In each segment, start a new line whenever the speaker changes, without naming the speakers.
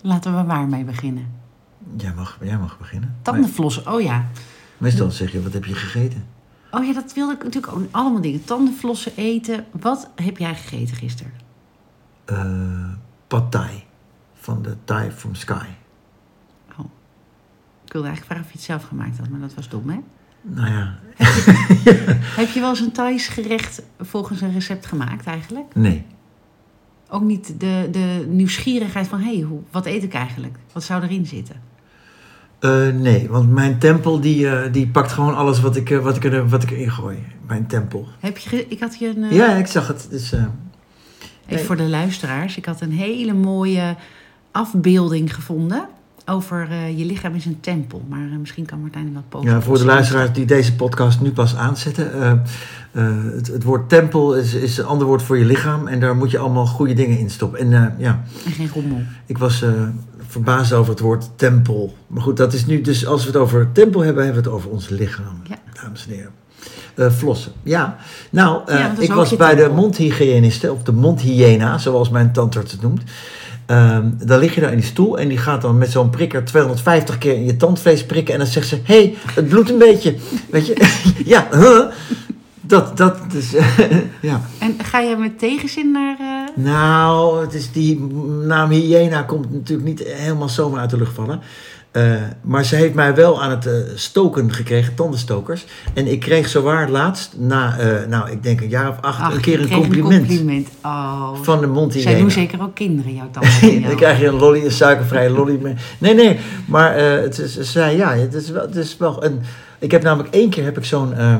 Laten we waar mee beginnen.
Jij mag, jij mag beginnen. Maar
Tandenflossen, oh ja.
meestal zeg je, wat heb je gegeten?
Oh ja, dat wilde ik natuurlijk ook. Allemaal dingen. Tandenflossen eten. Wat heb jij gegeten gisteren?
Eh pad thai. Van de Thai from Sky.
Oh. Ik wilde eigenlijk vragen of je het zelf gemaakt had, maar dat was dom, hè?
Nou ja,
Heb je wel eens een Thais gerecht volgens een recept gemaakt eigenlijk?
nee.
Ook niet de, de nieuwsgierigheid van, hé, hey, wat eet ik eigenlijk? Wat zou erin zitten?
Eh, nee, want mijn tempel die, eh, die pakt gewoon alles wat ik, eh, wat, ik er, wat ik erin gooi. Mijn tempel.
Heb je, ge- ik had hier een... eh,
Ja, ik zag het. Dus, eh,
Even voor de luisteraars. Ik had een hele mooie afbeelding gevonden over eh, je lichaam is een tempel. Maar eh, misschien kan Martijn hem wat posten.
Ja, voor de luisteraars die deze podcast nu pas aanzetten. eh, eh, het, het woord tempel is, is een ander woord voor je lichaam. En daar moet je allemaal goede dingen in stoppen. En eh, ja,
En geen rommel.
ik was eh, verbaasd over het woord tempel. Maar goed, dat is nu dus als we het over tempel hebben, hebben we het over ons lichaam.
Ja.
Dames en heren. Eh, flossen. Ja, nou, eh,
Ja, want dat is
ik
ook
was
je
bij de
tempel.
mondhygiëniste, of de mondhyena, zoals mijn tandarts het noemt. Ehm, dan lig je daar in die stoel en die gaat dan met zo'n prikker 250 keer in je tandvlees prikken. En dan zegt ze: Hé, hey, het bloedt een beetje. Weet je, ja, huh? dat, dat, dus, ja.
En ga je met tegenzin naar... eh,
Nou, het is die naam Hyena komt natuurlijk niet helemaal zomaar uit de lucht vallen. Eh, maar ze heeft mij wel aan het eh, stoken gekregen, tandenstokers. En ik kreeg zowaar laatst, na, eh, nou, ik denk een jaar of acht,
ach,
een
je
keer een
kreeg
compliment,
compliment. Oh,
van de mond
zij doen
Hyena.
zeker ook kinderen jouw tanden. van jou.
Dan krijg je een lolly, een suikervrije lolly. mee. Nee, nee, maar eh, het is, ze zei ja, het is wel, het is wel een, ik heb namelijk één keer heb ik zo'n, eh,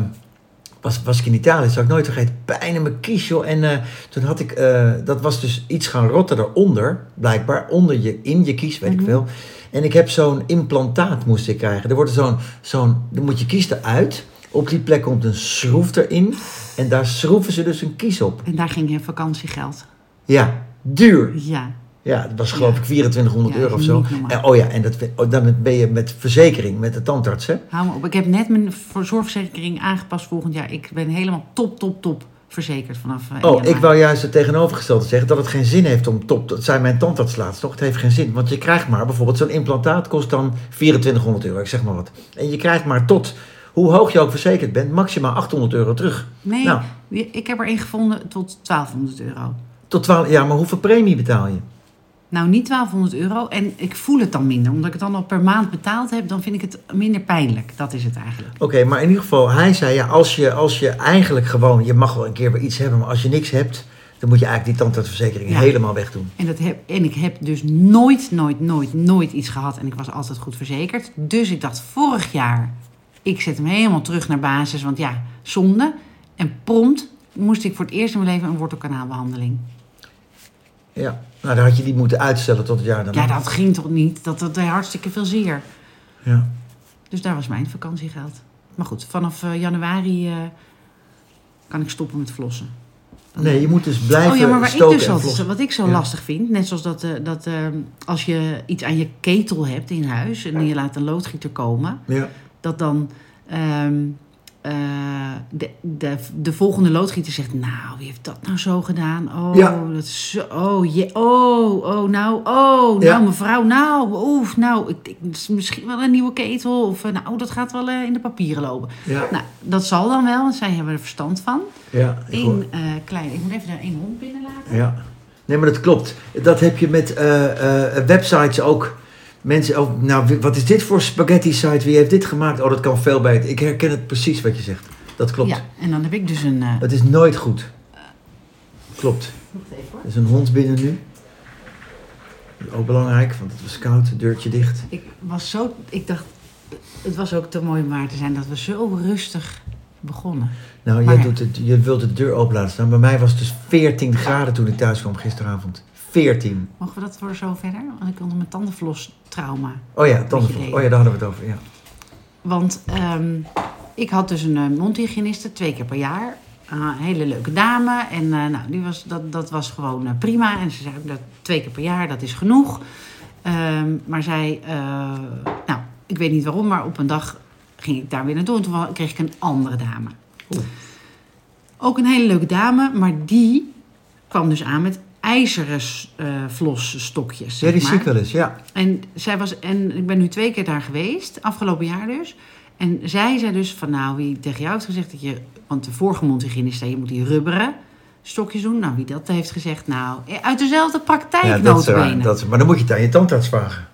was, was ik in Italië, zou ik nooit vergeten, pijn in mijn kies joh. En eh, toen had ik, eh, dat was dus iets gaan rotten eronder, blijkbaar, onder je, in je kies, weet
Mhm.
ik veel. En ik heb zo'n implantaat moest ik krijgen. Er wordt zo'n, zo'n, dan moet je kies eruit. Op die plek komt een schroef erin. En daar schroeven ze dus een kies op.
En daar ging je vakantiegeld.
Ja, duur.
Ja,
Ja, het was geloof
Ja.
ik 2400
Ja,
euro of
is
zo.
niet normaal.
En, oh ja, en dat, oh, dan ben je met verzekering, met de tandarts, hè?
hou me op. Ik heb net mijn voor- zorgverzekering aangepast volgend jaar. Ik ben helemaal top, top, top verzekerd vanaf eh,
Oh,
januari.
ik wou juist het tegenovergestelde zeggen, dat het geen zin heeft om top... Dat zei mijn tandarts laatst nog, het heeft geen zin. Want je krijgt maar, bijvoorbeeld zo'n implantaat kost dan 2400 euro, ik zeg maar wat. En je krijgt maar tot, hoe hoog je ook verzekerd bent, maximaal 800 euro terug.
Nee,
Nou.
je- ik heb er één gevonden tot 1200 euro.
Tot 12, ja, maar hoeveel premie betaal je?
Nou, niet 1200 euro. En ik voel het dan minder. Omdat ik het dan al per maand betaald heb, dan vind ik het minder pijnlijk. Dat is het eigenlijk.
Oké, maar in ieder geval, hij zei ja, als je, als je eigenlijk gewoon, je mag wel een keer weer iets hebben, maar als je niks hebt, dan moet je eigenlijk die tandartsverzekering
Ja.
helemaal wegdoen.
En, dat heb, en ik heb dus nooit, nooit, nooit, nooit iets gehad. En ik was altijd goed verzekerd. Dus ik dacht vorig jaar, ik zet hem helemaal terug naar basis. Want ja, zonde. En prompt moest ik voor het eerst in mijn leven een wortelkanaalbehandeling.
Ja, nou dan had je die moeten uitstellen tot het jaar daarna.
Ja, dat ging toch niet? Dat dat deed hartstikke veel zeer.
Ja.
Dus daar was mijn vakantiegeld. Maar goed, vanaf eh, januari eh, kan ik stoppen met flossen.
Nee, je moet dus blijven
Oh ja, maar waar ik
stoken
dus
en
altijd,
vlossen.
wat ik zo
Ja.
lastig vind, net zoals dat, eh, dat eh, als je iets aan je ketel hebt in huis en je laat een loodgieter komen,
Ja.
dat dan ehm, eh, de, de, de volgende loodgieter zegt, nou, wie heeft dat nou zo gedaan? Oh,
Ja.
dat is zo, oh, je, oh, oh, nou, oh,
Ja.
nou, mevrouw, nou, oef, nou, ik, ik- het is misschien wel een nieuwe ketel of eh, nou, dat gaat wel eh, in de papieren lopen.
Ja.
Nou, dat zal dan wel, want zij hebben er verstand van.
Ja, ik hoor-
Eén eh klein, ik moet even daar één hond binnenlaten.
ja. Nee, maar dat klopt. Dat heb je met eh, eh, websites ook. Mensen, oh, nou, wie- wat is dit voor spaghetti site? Wie heeft dit gemaakt? Oh, dat kan veel beter. Ik herken het precies wat je zegt. Dat klopt.
Ja, en dan heb ik dus een. eh,
Het is nooit goed. Klopt.
Wacht even hoor.
Er is een hond binnen nu. Dat is ook belangrijk, want het was koud, deurtje dicht.
Ik was zo. Ik dacht. Het was ook te mooi om waar te zijn dat we zo rustig begonnen.
Nou,
Maar
jij
ja.
doet het, je wilt de deur open laten staan. Bij mij was het dus 14 graden toen ik thuis kwam gisteravond. 14.
Mogen we dat voor zo verder? Want ik wilde mijn tandenflos trauma.
Oh ja, tandenvloer.
idee.
Oh ja, daar hadden we het over. Ja.
Want ehm, ik had dus een eh, mondhygiëniste twee keer per jaar. Eh, Een hele leuke dame. En eh, nou, die was, dat, dat was gewoon eh, prima. En ze zei ook dat twee keer per jaar, dat is genoeg. Ehm, maar zij, eh, nou, ik weet niet waarom, maar op een dag ging ik daar weer naartoe. En toen wa- kreeg ik een andere dame.
Oeh.
Ook een hele leuke dame, maar die kwam dus aan met ijzeren s- eh, flosstokjes.
Ja,
zeg
die
maar.
zie ik wel eens, ja.
En zij was, en ik ben nu twee keer daar geweest, afgelopen jaar dus. En zij zei dus van nou, wie tegen jou heeft gezegd dat je, want de vorige mondhygiënist zei je moet die rubberen stokjes doen. Nou, wie dat heeft gezegd, nou, eh, uit dezelfde praktijk
ja dat is waar,
notabene.
dat is- maar dan moet je het aan je tandarts vragen.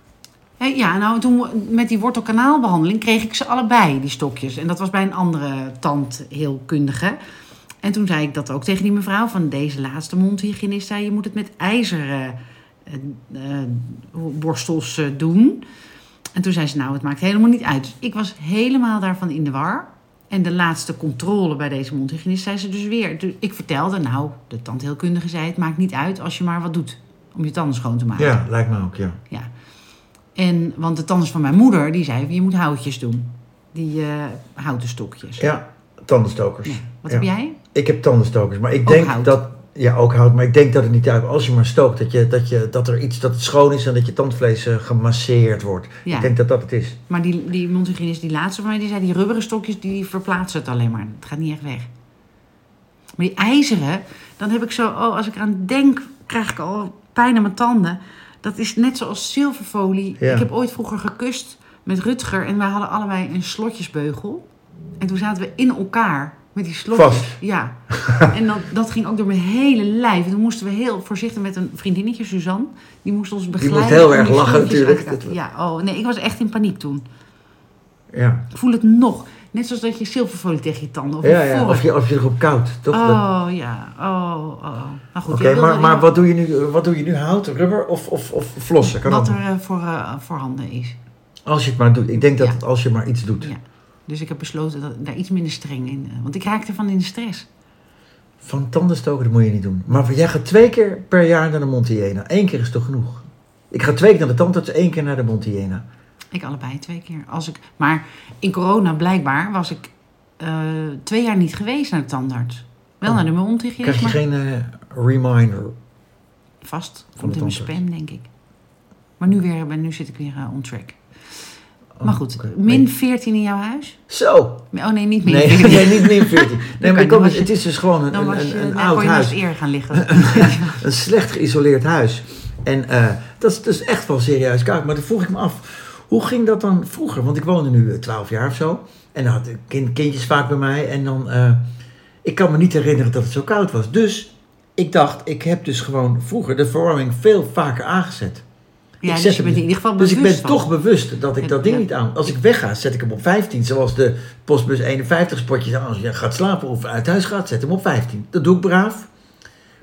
Hé, ja, nou, toen we- met die wortelkanaalbehandeling kreeg ik ze allebei, die stokjes. En dat was bij een andere tandheelkundige. En toen zei ik dat ook tegen die mevrouw van deze laatste mondhygiënist. Zei, je moet het met ijzeren eh, eh, borstels eh, doen. En toen zei ze, nou, het maakt helemaal niet uit. Dus ik was helemaal daarvan in de war. En de laatste controle bij deze mondhygiënist zei ze dus weer. Dus ik vertelde, nou, de tandheelkundige zei, het maakt niet uit als je maar wat doet om je tanden schoon te maken.
Ja, lijkt me ook, ja.
Ja. En, want de tandarts van mijn moeder, die zei, je moet houtjes doen. Die eh, houten stokjes.
Ja, tandenstokers.
Ja. Wat
Ja.
heb jij?
Ik heb tandenstokers, maar ik
Ook
denk
hout.
dat... Ja, ook hout, maar ik denk dat het niet uit... Als je maar stookt, dat, je, dat, je, dat er iets dat het schoon is en dat je tandvlees eh, gemasseerd wordt.
Ja.
Ik denk dat dat het is.
Maar die, die mondhygiënist, die laatste van mij, die zei, die rubberen stokjes, die verplaatsen het alleen maar. Het gaat niet echt weg. Maar die ijzeren, dan heb ik zo, oh, als ik aan denk, krijg ik al pijn aan mijn tanden. Dat is net zoals zilverfolie.
Ja.
Ik heb ooit vroeger gekust met Rutger en wij hadden allebei een slotjesbeugel. En toen zaten we in elkaar met die slotjes.
Vast.
Ja. en dat, dat ging ook door mijn hele lijf. En toen moesten we heel voorzichtig met een vriendinnetje, Suzanne. Die moest ons begeleiden.
heel
om
erg
die
lachen
slotjes
natuurlijk.
uit te laten. Ja, oh nee, ik was echt in paniek toen.
Ja,
Ik voel het nog. Net zoals dat je zilverfolie tegen je tanden of
ja,
ja,
ja. Of, je, of je erop koud, toch? Dat-
Oh ja, oh, oh, oh. Nou goed,
Oké,
jij wilde
maar, maar
heel-
wat doe je nu? eh, Wat doe je nu? Hout, rubber of, of, of flossen? Kan
wat er
ook.
eh, voor, eh, voorhanden is.
Als je het maar doet. Ik denk dat
Ja.
het als je maar iets doet.
Ja. Dus ik heb besloten dat, daar iets minder streng in. eh, want ik raakte van in de stress.
Van tandenstoken, dat moet je niet doen. Maar jij gaat twee keer per jaar naar de Montiena. Eén keer is toch genoeg? Ik ga twee keer naar de tandarts, één keer naar de Montiena.
Ik allebei twee keer. Als ik, maar in corona blijkbaar was ik eh, twee jaar niet geweest naar de tandarts. Wel
Oh.
naar de mondhygiënist,
Krijg je
maar
geen eh, reminder?
vast.
de
Komt in mijn
tandarts?
spam, denk ik. Maar nu, weer, ben- nu zit ik weer eh, on track.
Oh,
maar goed,
oké.
min 14 in jouw huis?
Zo!
Oh nee, niet min
Nee,
14.
nee, niet min 14. Nee, maar
kan
ik kan
je-
het, het is dus gewoon een,
Dan
een,
was je,
een, een
dan
oud
kon je
huis.
naast eer gaan liggen. dus
Een slecht geïsoleerd huis. En eh, dat is dus echt wel serieus koud. Maar dan vroeg ik me af, hoe ging dat dan vroeger? Want ik woonde nu eh, twaalf jaar of zo. En dan had ik kind, kindjes vaak bij mij. En dan, eh, ik kan me niet herinneren dat het zo koud was. Dus ik dacht, ik heb dus gewoon vroeger de verwarming veel vaker aangezet.
ja, dus
zet
je
hem
bent in
niet.
ieder geval
Dus
bewust
ik ben
van.
toch bewust dat ik
Ja,
dat ding
ja.
niet aan... Als ik wegga, zet ik hem op 15. Zoals de postbus 51 spotjes. Als je gaat slapen of uit huis gaat, zet hem op 15. Dat doe ik braaf.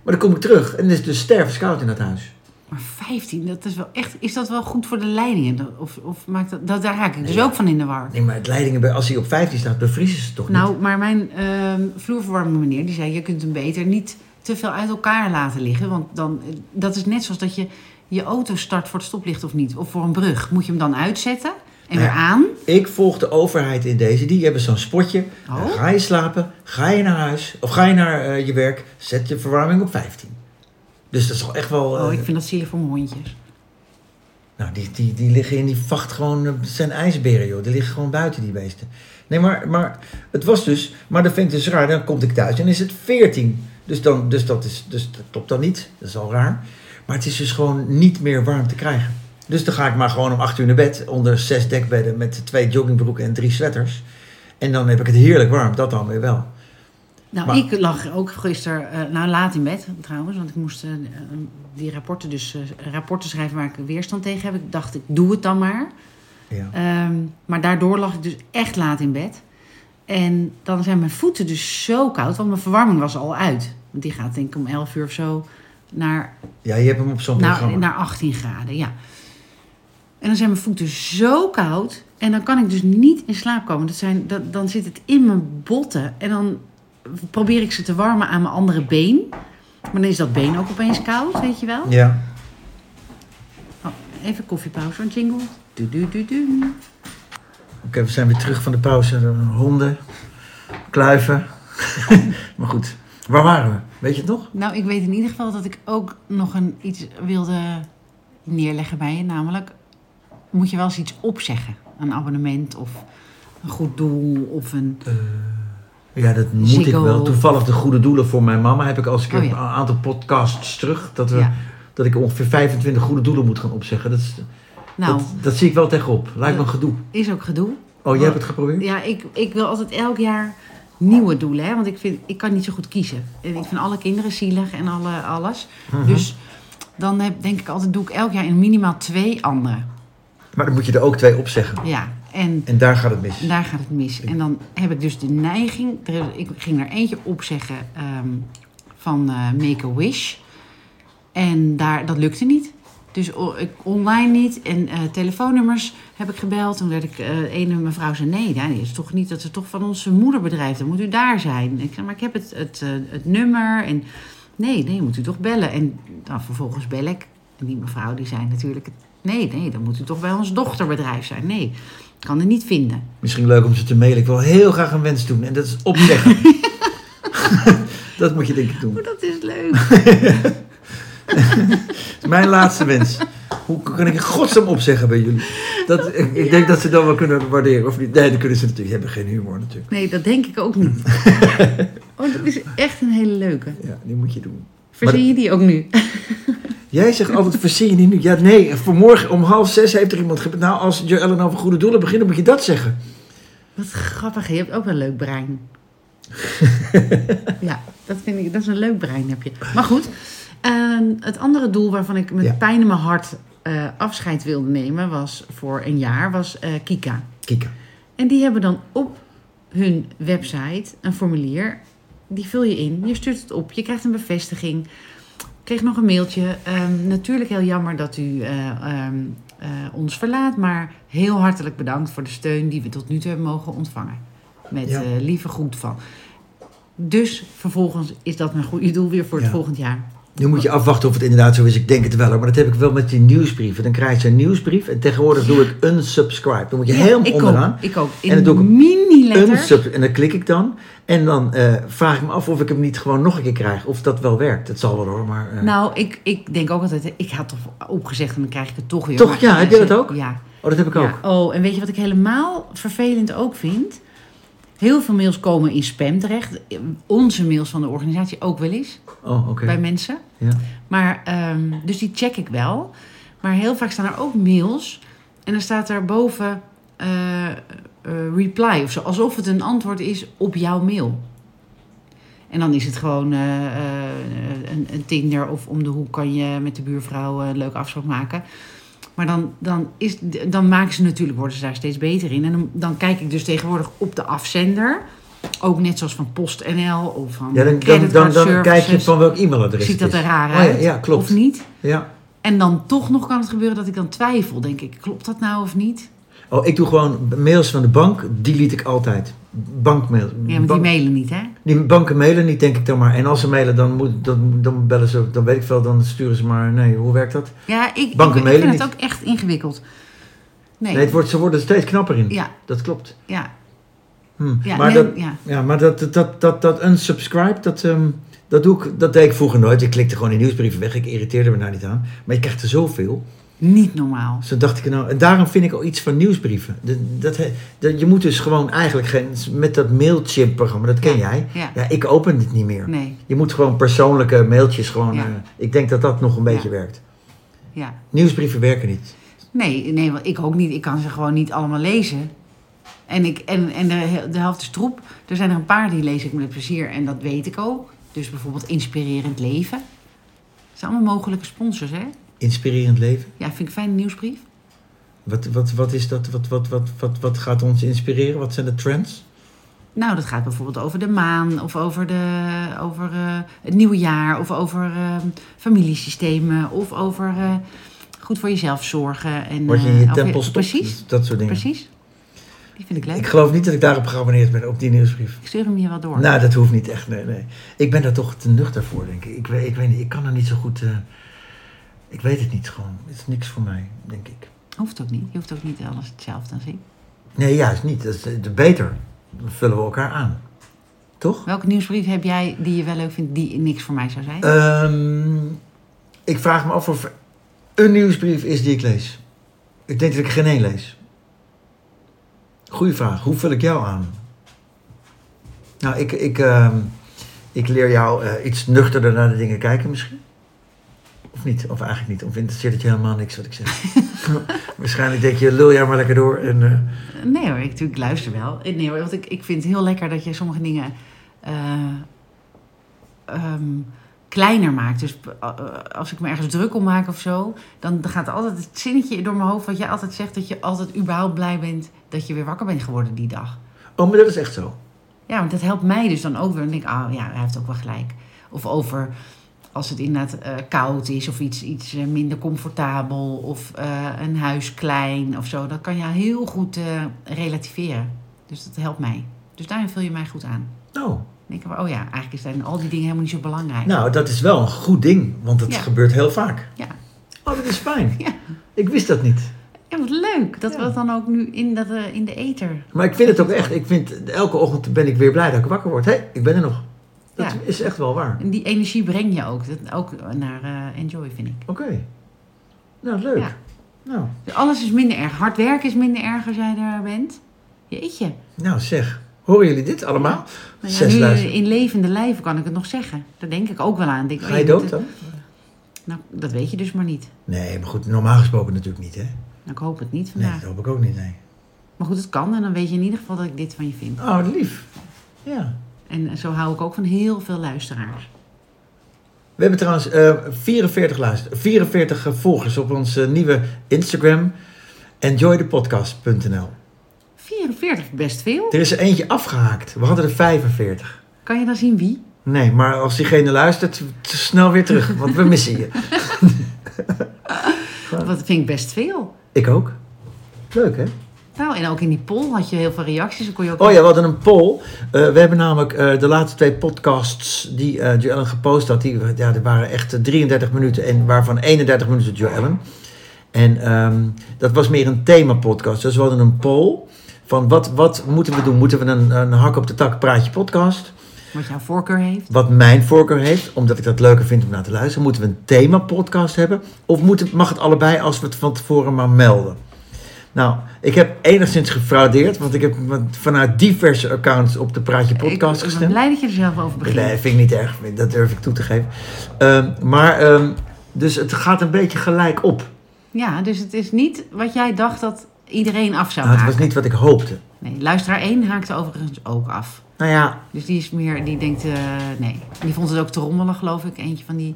Maar dan kom ik terug en het is dus stervenskoud in dat huis.
Maar 15, dat is wel echt... Is dat wel goed voor de leidingen? Of, of maakt dat, dat... Daar raak ik dus ook van in de war.
Nee, maar het Leidingen, als hij op 15 staat, bevriezen ze toch niet?
Nou, maar mijn ehm vloerverwarmende meneer, die zei... Je kunt hem beter niet te veel uit elkaar laten liggen. Want dan, eh, dat is net zoals dat je je auto start voor het stoplicht of niet. Of voor een brug. Moet je hem dan uitzetten en weer
Ja.
aan?
Ik volg de overheid in deze. Die hebben zo'n spotje.
Oh.
Eh, ga je slapen, ga je naar huis of ga je naar eh, je werk, zet je verwarming op 15. Dus dat is al echt wel... eh,
Oh, ik vind dat zielig voor mijn hondjes.
Nou, die, die, die liggen in die vacht gewoon, eh, het zijn ijsberen joh, die liggen gewoon buiten die beesten. Nee, maar, maar het was dus, maar dat vind ik dus raar, dan kom ik thuis en is het 14. Dus, dan, dus, dat is, dus dat klopt dan niet, dat is al raar. Maar het is dus gewoon niet meer warm te krijgen. Dus dan ga ik maar gewoon om 8 uur naar bed, onder zes dekbedden met twee joggingbroeken en drie sweaters. En dan heb ik het heerlijk warm, dat dan weer wel.
Nou,
Maar-
ik lag ook gisteren, eh, nou laat in bed trouwens, want ik moest eh, die rapporten, dus eh, rapporten schrijven waar ik weerstand tegen heb. Ik dacht, ik doe het dan maar.
Ja.
Ehm, maar daardoor lag ik dus echt laat in bed. En dan zijn mijn voeten dus zo koud, want mijn verwarming was al uit. Want die gaat denk ik om 11 uur of zo naar
ja, je hebt hem op zo'n
nou,
programma.
naar 18 graden, ja. En dan zijn mijn voeten zo koud. En dan kan ik dus niet in slaap komen. Dat zijn, dat, dan zit het in mijn botten. En dan probeer ik ze te warmen aan mijn andere been. Maar dan is dat been ook opeens koud, weet je wel.
Ja,
Oh, even koffiepauze, een jingle. Du, du, du, du.
oké, we zijn weer terug van de pauze. Eh, Honden, kluiven. maar goed, waar waren we? Weet je het nog?
Nou, ik weet in ieder geval dat ik ook nog een, iets wilde neerleggen bij je. Namelijk, moet je wel eens iets opzeggen. Een abonnement of een goed doel of een...
Ja, dat moet
Ziggo.
ik wel. Toevallig de goede doelen voor mijn mama heb ik als ik
Oh,
een
ja.
aantal podcasts terug. Dat, we,
Ja.
dat ik ongeveer 25 goede doelen moet gaan opzeggen. Dat, is,
Nou,
dat, dat zie ik wel tegenop. Lijkt me een gedoe.
is ook gedoe.
Oh, jij hebt het geprobeerd?
Ja, ik, ik wil altijd elk jaar nieuwe doelen. Hè? Want ik, vind, ik kan niet zo goed kiezen. En ik vind alle kinderen zielig en alle, alles. Dus dan heb, denk ik altijd, doe ik elk jaar in minimaal twee andere.
Maar dan moet je er ook twee opzeggen.
Ja, en
En daar gaat het mis.
daar gaat het mis. En dan heb ik dus de neiging... er- Ik ging er eentje opzeggen ehm van eh, Make-A-Wish. En daar, dat lukte niet. Dus o- ik, online niet. En eh, telefoonnummers heb ik gebeld. Toen werd ik... eh ene mevrouw zei, nee, ja, dat is toch niet... Dat is toch van ons moederbedrijf. Dan moet u daar zijn. Ik zei, maar ik heb het, het, eh, het nummer. En nee, nee, moet u toch bellen. En dan vervolgens bel ik. En die mevrouw die zei natuurlijk... Nee, nee, dan moet u toch bij ons dochterbedrijf zijn. Nee, ik kan het niet vinden.
Misschien leuk om ze te mailen. Ik wil heel graag een wens doen. En dat is opzeggen. dat moet je denk ik doen.
Oh, dat is leuk.
Mijn laatste wens. Hoe kan ik in godsnaam opzeggen bij jullie? Dat, ik ik denk dat ze dan wel kunnen waarderen. Of niet? Nee, dan kunnen ze natuurlijk. Die hebben geen humor natuurlijk.
Nee, dat denk ik ook niet. Oh, dat is echt een hele leuke.
Ja, die moet je doen.
Verzin je die ook nu?
Jij zegt altijd, verzin je niet nu. Ja, nee, vanmorgen om half zes heeft er iemand gebeld. Nou, als Joellen over goede doelen begint, dan moet je dat zeggen.
Wat grappig, je hebt ook wel een leuk brein. ja, dat vind ik, dat is een leuk brein heb je. Maar goed, eh, het andere doel waarvan ik met
Ja.
pijn in mijn hart eh, afscheid wilde nemen was voor een jaar, was eh, Kika.
Kika.
En die hebben dan op hun website een formulier. Die vul je in, je stuurt het op, je krijgt een bevestiging. Ik kreeg nog een mailtje. Ehm, natuurlijk heel jammer dat u eh, ehm, eh, ons verlaat, maar heel hartelijk bedankt voor de steun die we tot nu toe hebben mogen ontvangen. Met
Ja.
eh, lieve groet van. Dus vervolgens is dat mijn goede doel weer voor het
Ja.
volgend jaar.
Nu moet je afwachten of het inderdaad zo is. Ik denk het wel, hoor. maar dat heb ik wel met die nieuwsbrieven. Dan krijg je een nieuwsbrief en tegenwoordig doe ik unsubscribe. Dan moet je
Ja,
helemaal
ik
onderaan.
Ook, ik ook. In
En dan doe ik hem
mini-letters.
Unsub, en dan klik ik dan. En dan eh, vraag ik me af of ik hem niet gewoon nog een keer krijg. Of dat wel werkt. Het zal wel hoor, maar... eh,
Nou, ik, ik denk ook altijd, ik had toch opgezegd en dan krijg ik het toch weer.
Toch,
Maar-
ja, heb jij dat ook?
Ja.
oh, dat heb ik ook.
Ja, oh, en weet je wat ik helemaal vervelend ook vind? Heel veel mails komen in spam terecht. Onze mails van de organisatie ook wel eens
Oh, oké.
bij mensen.
Ja.
Maar, ehm, dus die check ik wel. Maar heel vaak staan er ook mails. En dan staat er boven eh, eh, reply of zo. Alsof het een antwoord is op jouw mail. En dan is het gewoon eh, eh, een, een Tinder of om de hoek kan je met de buurvrouw eh, een leuke afspraak maken. Maar dan, dan, is, dan maken ze natuurlijk, worden ze daar steeds beter in. En dan, dan kijk ik dus tegenwoordig op de afzender. Ook net zoals van PostNL of van
Ja, dan, dan, dan, dan,
creditcardservices.
kijk je van welk e-mailadres
Ziet dat
het
er
is.
raar
Oh, ja,
uit?
ja, klopt.
Of niet?
Ja.
En dan toch nog kan het gebeuren dat ik dan twijfel. Denk ik, klopt dat nou of niet?
Oh, ik doe gewoon mails van de bank, delete ik altijd. Bankmail.
Ja, want
Bank-
die mailen niet, hè?
die banken mailen niet, denk ik dan maar. En als ze mailen, dan, moet, dan, dan bellen ze, dan weet ik veel, dan sturen ze maar. Nee, hoe werkt dat?
Ja, ik, ik,
Banken
ik
mailen
vind
niet.
het ook echt ingewikkeld. Nee,
Nee, het wordt, ze worden er steeds knapper in.
ja,
Dat klopt.
ja,
Hm.
ja,
maar
nee,
dat,
ja.
ja, maar dat, dat, dat, dat, dat unsubscribe, dat, ehm, dat, doe ik, dat deed ik vroeger nooit. Ik klikte gewoon die nieuwsbrieven weg. Ik irriteerde me daar niet aan. Maar je krijgt er zoveel.
niet normaal.
Dus toen dacht ik nou, en daarom vind ik al iets van nieuwsbrieven. Dat, dat, he- dat- je moet dus gewoon eigenlijk geen, met dat Mailchimp-programma, dat ken jij.
Ja,
Ja, ik open het niet meer.
nee,
Je moet gewoon persoonlijke mailtjes gewoon.
Ja.
eh, ik denk dat dat nog een beetje
Ja.
werkt.
ja.
Nieuwsbrieven werken niet.
Nee, nee, want ik ook niet. Ik kan ze gewoon niet allemaal lezen. En, ik, en, en de, he- de helft is troep. Er zijn er een paar die lees ik met plezier en dat weet ik ook. Dus bijvoorbeeld Inspirerend Leven. Dat zijn allemaal mogelijke sponsors, hè?
Inspirerend leven.
Ja, vind ik een fijne nieuwsbrief.
Wat, wat, wat is dat? Wat, wat, wat, wat, wat gaat ons inspireren? Wat zijn de trends?
Nou, dat gaat bijvoorbeeld over de maan of over, de, over eh, het nieuwe jaar of over eh, familiesystemen of over eh, goed voor jezelf zorgen. En,
Word je
eh,
in je
of
tempel stopt?
Precies,
Dat soort dingen.
precies. Die vind ik leuk.
Ik
Ik,
geloof niet dat ik daarop geabonneerd ben, op die nieuwsbrief.
stuur hem je wel door.
Nou, dat hoeft niet echt. Nee, nee. Ik ben daar toch te nuchter voor, denk ik. Ik, weet- ik weet niet, ik kan er niet zo goed... eh, ik weet het niet gewoon. Het is niks voor mij, denk ik.
Hoeft ook niet. Je hoeft ook niet alles hetzelfde aan zien.
Nee, juist niet. Dat is eh, beter. Dan vullen we elkaar aan. Toch?
Welke nieuwsbrief heb jij die je wel leuk vindt, die niks voor mij zou zijn?
Ehm, ik vraag me af of er een nieuwsbrief is die ik lees. Ik denk dat ik geen één lees. Goeie vraag. Hoe vul ik jou aan? Nou, ik, ik, ehm, ik leer jou eh, iets nuchterder naar de dingen kijken misschien. Of niet, of eigenlijk niet. Of interesseert het je helemaal niks wat ik zeg. Waarschijnlijk denk je, lul jij maar lekker door. En, eh,
Nee hoor, ik, natuurlijk luister wel. Eh, Nee hoor, want ik, ik vind het heel lekker dat je sommige dingen eh, ehm, kleiner maakt. Dus eh, als ik me ergens druk om maak of zo, dan gaat er altijd het zinnetje door mijn hoofd wat jij altijd zegt, dat je altijd überhaupt blij bent dat je weer wakker bent geworden die dag.
Oh, maar dat is echt zo.
Ja, want dat helpt mij dus dan ook weer. Dan denk ik, ah ja, hij heeft ook wel gelijk. Of over als het inderdaad eh, koud is of iets, iets eh, minder comfortabel of eh, een huis klein of zo. Dat kan je heel goed eh, relativeren. Dus dat helpt mij. Dus daarin vul je mij goed aan.
Nou,
Dan denk ik, oh ja, eigenlijk zijn al die dingen helemaal niet zo belangrijk.
nou, dat is wel een goed ding, want dat
Ja.
gebeurt heel vaak.
Ja.
Oh, dat is fijn.
Ja.
Ik wist dat niet.
ja, wat leuk dat
Ja.
we dat dan ook nu in, dat, eh, in de ether...
Maar ik vind het ook echt. Ik vind, elke ochtend ben ik weer blij dat ik wakker word. Hé, hey, ik ben er nog. Dat
Ja.
is echt wel waar.
En die energie breng je ook, dat, ook naar eh, enjoy, vind ik.
Oké. Nou, leuk.
Ja.
Nou.
Dus alles is minder erg. Hard werken is minder erg als jij daar bent. Jeetje.
nou, zeg. Horen jullie dit allemaal?
Nou ja,
Zes
nu
luisteren.
in levende lijven kan ik het nog zeggen. Daar denk ik ook wel aan. Denk, ik,
Ga je
oh, moet
dood dan?
het- Nou, dat weet je dus maar niet.
Nee, maar goed, normaal gesproken natuurlijk niet, hè?
Nou, ik hoop het niet
Nee,
vandaag.
dat hoop ik ook niet, nee.
Maar goed, het kan en dan weet je in ieder geval dat ik dit van je vind.
Oh, wat lief. Ja.
En zo hou ik ook van heel veel luisteraars.
We hebben trouwens eh, 44, luister, 44 volgers op onze nieuwe Instagram. Enjoythepodcast.nl
44, best veel.
Er is er eentje afgehaakt. We hadden er 45.
Kan je dan zien wie?
Nee, maar als diegene luistert, t- snel weer terug, want we missen je.
Dat vind ik best veel.
Ik ook. Leuk, hè?
Nou, en ook in die poll had je heel veel reacties. Dan kon je ook...
Oh ja, we hadden een poll. Eh, we hebben namelijk eh, de laatste twee podcasts die eh Joellen gepost had. Die, ja, er waren echt eh, 33 minuten en waarvan 31 minuten Joellen. En ehm, dat was meer een themapodcast. Dus we hadden een poll van wat, wat moeten we doen? Moeten we een, een hak op de tak praatje podcast?
Wat jouw voorkeur heeft.
Wat mijn voorkeur heeft, omdat ik dat leuker vind om naar te luisteren. Moeten we een themapodcast hebben? Of moet, mag het allebei als we het van tevoren maar melden? Nou, ik heb enigszins gefraudeerd, want ik heb vanuit diverse accounts op de Praatje Podcast
ik, ik ben
gestemd.
blij dat je er zelf over begint.
Nee, vind ik niet erg, dat durf ik toe te geven. Ehm, maar, ehm, dus het gaat een beetje gelijk op.
Ja, dus het is niet wat jij dacht dat iedereen af zou
Nou, het
haken.
was niet wat ik hoopte.
Nee, luisteraar 1 haakte overigens ook af.
Nou ja,
Dus die is meer, die denkt, eh, nee. Die vond het ook te rommelig, geloof ik. Eentje van die.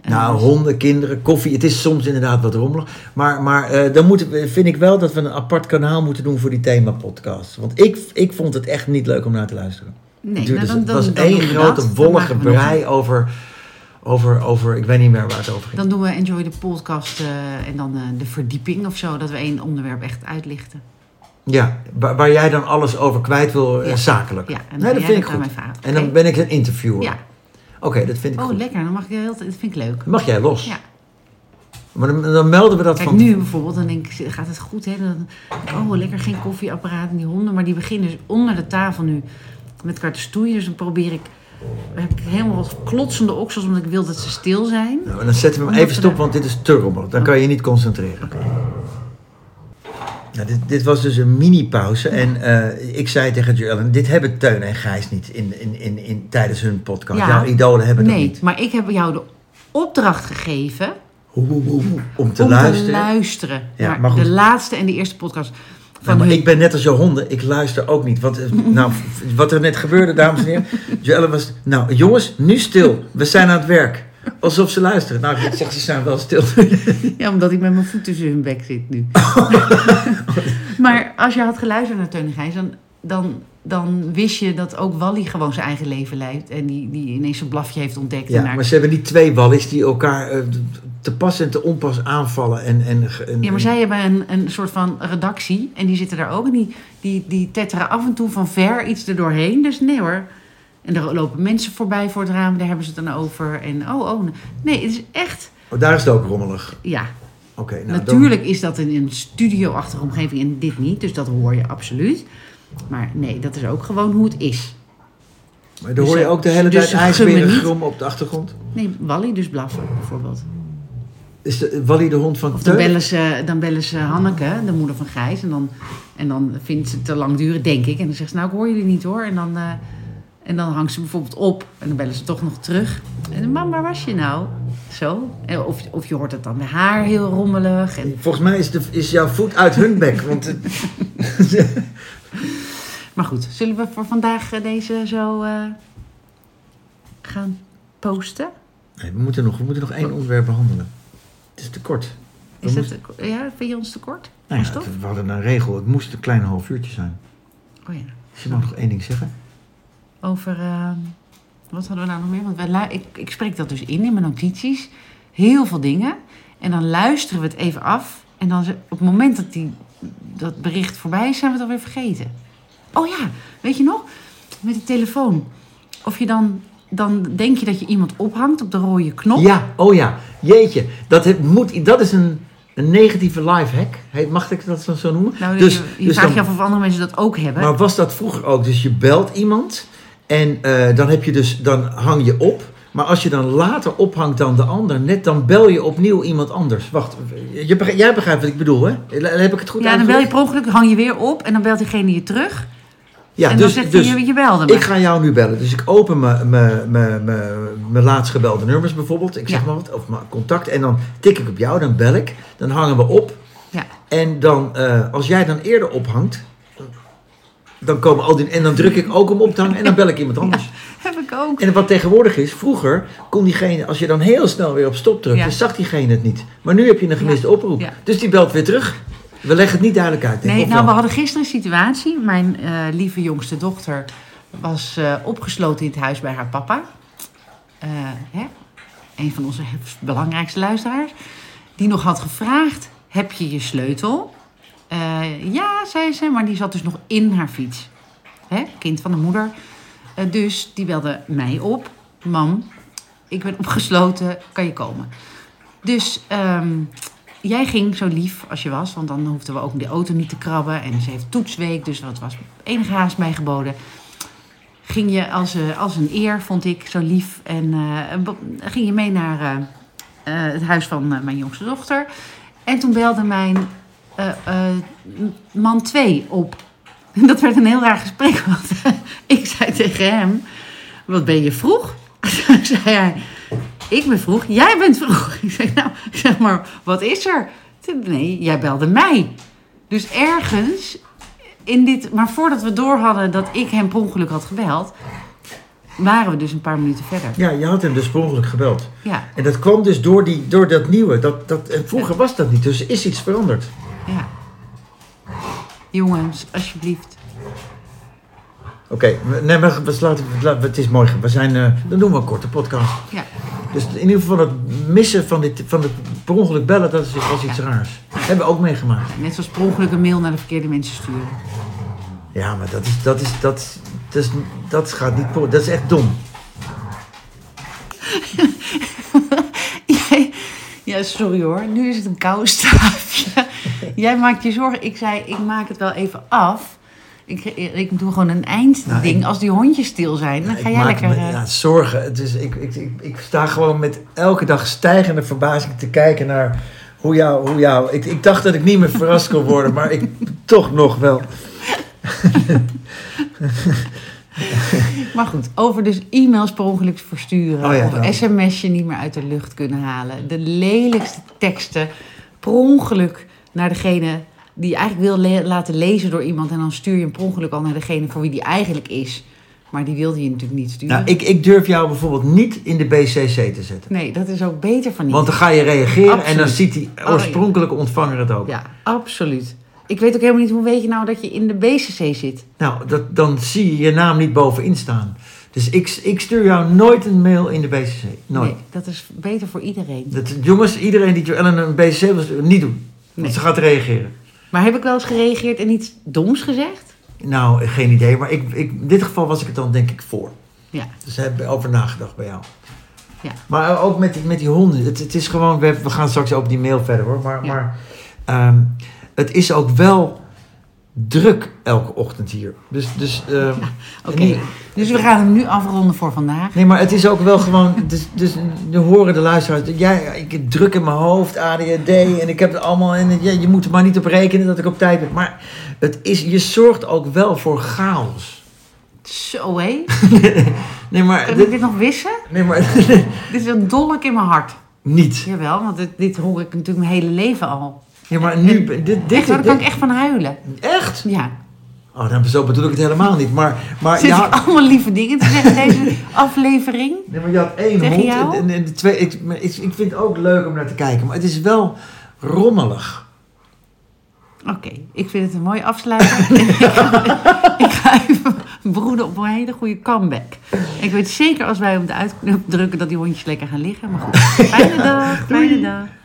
eh,
Nou, honden, kinderen, koffie. Het is soms inderdaad wat rommelig. Maar, maar eh, dan moeten we, vind ik wel dat we een apart kanaal moeten doen voor die themapodcast. Want ik, ik vond het echt niet leuk om naar te luisteren.
nee,
Duurde-
nou, dan, dan,
het was
dan
één
doen we dat.
grote
Dan
wollige
maken we nog
brei over, over, over... Ik weet niet meer waar het over
een-
ging.
Dan doen we Enjoy de podcast eh, en dan eh, de verdieping of zo. Dat we één onderwerp echt uitlichten.
Ja, waar, waar jij dan alles over kwijt wil, eh,
Ja.
zakelijk.
Ja, en dan
nee,
ga
dat
jij
vind ik
dat aan
goed.
mij vragen.
En dan
Oké.
ben ik een interviewer.
Ja.
Oké, dat vind ik
Oh,
goed.
lekker. Dan mag je heel, dat vind ik leuk.
Mag jij los?
Ja.
Maar dan, dan melden we dat
Kijk,
van...
nu bijvoorbeeld, dan denk ik, gaat het goed hè? Dan, oh, lekker geen koffieapparaat en die honden. Maar die beginnen dus onder de tafel nu met elkaar te stoeien. Dus dan probeer ik, heb ik helemaal wat klotsende oksels, omdat ik wil dat ze stil zijn.
Nou, dan zetten we hem
Omdat
even
we Oh.
stop,
de-
want dit is te rommelig. Dan kan je je niet concentreren. Nou, dit, dit was dus een mini-pauze. En eh, ik zei tegen Joellen, dit hebben Teun en Gijs niet in, in, in, in, tijdens hun podcast.
Ja.
Jouw idolen hebben dat
nee,
niet.
maar ik heb jou de opdracht gegeven
Hoe, hoe, hoe, hoe, om te
om
luisteren.
te luisteren
Ja,
naar
maar goed.
de laatste en de eerste podcast
Nou,
van
maar
hun.
ik ben net als jouw honden, ik luister ook niet. Want, eh, nou, f- wat er net gebeurde, dames en heren. Joellen was, nou jongens, nu stil. We zijn aan het werk. Alsof ze luisteren. Nou, ik zeg, ze zijn wel stil.
Ja, omdat ik met mijn voet tussen hun bek zit nu. maar als je had geluisterd naar Teun en Gijs, dan, dan, dan wist je dat ook Wally gewoon zijn eigen leven leidt. En die, die ineens een blafje heeft ontdekt. en
Ja,
daar-
maar ze hebben niet twee wallies die elkaar eh, te pas en te onpas aanvallen. En, en, ge- en,
ja, maar zij hebben een, een soort van redactie. En die zitten daar ook. En die, die, die tetteren af en toe van ver iets erdoorheen. Dus nee hoor. En er lopen mensen voorbij voor het raam. Daar hebben ze het dan over. En oh, oh. Nee, het is echt...
Oh, daar is het ook rommelig.
Ja,
Oké, nou,
natuurlijk is dat in een studio-achtige omgeving en dit niet. Dus dat hoor je absoluut. Maar nee, dat is ook gewoon hoe het is.
Dan, maar dan hoor je ook de hele
Dus-
tijd
dus gun me
ijsberen
niet.
grom op de achtergrond.
Nee, Wally dus blaffen bijvoorbeeld.
Is de, Wally de hond van
Of dan
Teun?
bellen, ze, dan bellen ze Hanneke, de moeder van Gijs. En dan, en dan vindt ze het te lang duren, denk ik. En dan zegt ze, nou ik hoor jullie niet hoor. En dan, eh, En dan hangt ze bijvoorbeeld op en dan bellen ze toch nog terug. En dan, mam, waar was je nou? Zo. En Of, of je hoort het dan bij haar heel rommelig. En,
Volgens mij is, de, is jouw voet uit hun bek. Want eh, het-
maar goed, zullen we voor vandaag eh, deze zo eh, gaan posten?
Nee, we, moeten nog, we moeten nog één onderwerp behandelen. Het is te kort. We
Is dat,
moesten-
ja, vind je ons tekort?
Nou ja,
Stof?
we hadden een regel. Het moest een klein half uurtje zijn.
Oh ja.
Dus je mag nog één ding zeggen.
Over, ehm, wat hadden we nou nog meer? Want wij, lu- ik, ik spreek dat dus in in mijn notities. Heel veel dingen. En dan luisteren we het even af. En dan ze- op het moment dat die, dat bericht voorbij is, zijn we het alweer vergeten. Oh ja, weet je nog? Met de telefoon. Of je dan, dan denk je dat je iemand ophangt op de rode knop.
Ja, oh ja. Jeetje. Dat, het moet, dat is een, een negatieve lifehack. Heet- Mag ik dat zo- zo noemen?
Nou,
dus,
je, je
dus
vraagt
dan-
je af of andere mensen dat ook hebben.
Maar was dat vroeger ook? Dus je belt iemand en eh, dan, heb je dus, dan hang je op. Maar als je dan later ophangt dan de ander, net dan bel je opnieuw iemand anders. Wacht, je begrijpt- jij begrijpt wat ik bedoel, hè? Heb ik het goed
ja, dan bel je
uitgelegd?
per ongeluk, hang je weer op. En dan belt diegene je terug.
Ja,
en dan
dus,
zegt
dus
hij, je, je belde me.
ik ga jou nu bellen. Dus ik open mijn- mijn- mijn- mijn- mijn laatst gebelde nummers bijvoorbeeld. Ik zeg
Ja.
maar wat, of mijn contact. En dan tik ik op jou, dan bel ik. Dan hangen we op.
Ja.
En dan, eh, als jij dan eerder ophangt, dan komen al die... En dan druk ik ook om op te hangen en dan bel ik iemand anders.
Heb ik ook.
En wat tegenwoordig is, vroeger kon diegene, als je dan heel snel weer op stop drukte,
Ja.
zag diegene het niet. Maar nu heb je een gemiste oproep.
Ja.
Dus die belt weer terug. We leggen het niet duidelijk uit. denk ik,
Nee,
of
nou, we
wel?
hadden gisteren een situatie. Mijn eh, lieve jongste dochter was eh, opgesloten in het huis bij haar papa. Eh, hè? Een van onze belangrijkste luisteraars. Die nog had gevraagd, heb je je sleutel? Eh, ja, zei ze, maar die zat dus nog in haar fiets. Hè? Kind van de moeder. Eh, dus die belde mij op. Mam, ik ben opgesloten, kan je komen? Dus ehm, jij ging zo lief als je was, want dan hoefden we ook de auto niet te krabben. En ze heeft toetsweek, dus dat was enige haast bijgeboden. Ging je als, eh, als een eer, vond ik, zo lief. En eh, bo- ging je mee naar eh, eh, het huis van eh, mijn jongste dochter. En toen belde mijn eh, eh, m- man 2 op. Dat werd een heel raar gesprek, want ik zei tegen hem... Wat ben je vroeg? Toen zei hij, ik ben vroeg, jij bent vroeg. Ik zeg, nou, zeg maar, wat is er? Toen, Nee, jij belde mij. Dus ergens in dit... Maar voordat we door hadden dat ik hem per ongeluk had gebeld... waren we dus een paar minuten verder.
Ja, je had hem dus per ongeluk gebeld.
Ja,
En dat kwam dus door, die, door dat nieuwe. Dat, dat, en vroeger was dat niet, dus er is iets veranderd.
ja. Jongens, alsjeblieft.
Oké, we- nee, maar we sluiten, we laten- het is mooi. ge- We zijn, eh, dan doen we een korte podcast.
Ja,
Dus in ieder geval het missen van, dit, van het per ongeluk bellen, dat is was iets raars. Hebben we ook meegemaakt.
net zoals per ongeluk een mail naar de verkeerde mensen sturen.
Ja, maar dat is, dat is, dat is, dat is, dat gaat niet, voor- dat is echt dom.
Jij- Ja, sorry hoor. Nu is het een koude staafje. Jij maakt je zorgen. Ik zei, ik maak het wel even af. Ik, ik doe gewoon een eindding.
Nou, ik-
Als die hondjes stil zijn, dan
Ja,
ga
ik
jij
maak
lekker...
me-
eh,
ja, zorgen. Het is, ik, ik, ik, ik sta gewoon met elke dag stijgende verbazing te kijken naar hoe jou... Hoe jou ik, ik dacht dat ik niet meer verrast kon worden, maar ik toch nog wel.
Maar goed, over dus e-mails per ongeluk versturen.
Oh ja,
of
ja.
sms'je niet meer uit de lucht kunnen halen. De lelijkste teksten per ongeluk naar degene die je eigenlijk wil le- laten lezen door iemand. En dan stuur je hem per ongeluk al naar degene voor wie die eigenlijk is. Maar die wilde je natuurlijk niet sturen.
Nou, ik, ik durf jou bijvoorbeeld niet in de BCC te zetten.
Nee, dat is ook beter van niet.
Want dan ga je reageren en dan
Absoluut.
ziet die
ja.
oorspronkelijke ontvanger het ook.
Ja, absoluut. Ik weet ook helemaal niet, hoe weet je nou dat je in de BCC zit?
Nou, dat, dan zie je je naam niet bovenin staan. Dus ik, ik stuur jou nooit een mail in de BCC. Nooit.
Nee, dat is beter voor iedereen.
Dat, jongens, iedereen die Joellen een BCC wil sturen, niet doen. Want
Nee.
ze gaat reageren.
Maar heb ik wel eens gereageerd en iets doms gezegd?
Nou, geen idee. Maar ik, ik, in dit geval was ik het dan denk ik voor.
Ja,
Dus daar heb ik over nagedacht bij jou.
Ja.
Maar ook met die, met die honden. Het, het is gewoon, we, we gaan straks over die mail verder hoor. Maar,
Ja.
maar ehm, het is ook wel druk elke ochtend hier. Dus, dus ehm,
oké.
nee,
Dus we gaan hem nu afronden voor vandaag.
nee, maar het is ook wel gewoon, dus, dus de horen de luisteraars. Jij, ik heb druk in mijn hoofd, ADHD en ik heb het allemaal. En ja, je moet er maar niet op rekenen dat ik op tijd ben. Maar het is, je zorgt ook wel voor chaos.
Zo hé.
Nee, maar...
Kan ik
Dit,
dit nog wissen?
nee, maar...
Dit is een dolk in mijn hart.
niet.
Jawel, want dit, dit hoor ik natuurlijk mijn hele leven al.
Ja, maar nu... Dit, dit,
Echt, hoor,
dit,
daar kan ik echt van huilen.
echt?
Ja.
Oh, nou, zo bedoel ik het helemaal niet. Maar, maar
Zit
je
ik
had,
allemaal lieve dingen te zeggen in deze aflevering?
nee, maar je had één
Tegen
hond
jou?
en, en, en de twee... Ik, maar ik, ik vind het ook leuk om naar te kijken, maar het is wel rommelig.
Oké, ik vind het een mooie afsluiting. ik ga even broeden op een hele goede comeback. Ik weet zeker als wij hem eruit drukken dat die hondjes lekker gaan liggen. Maar goed, fijne dag, fijne dag.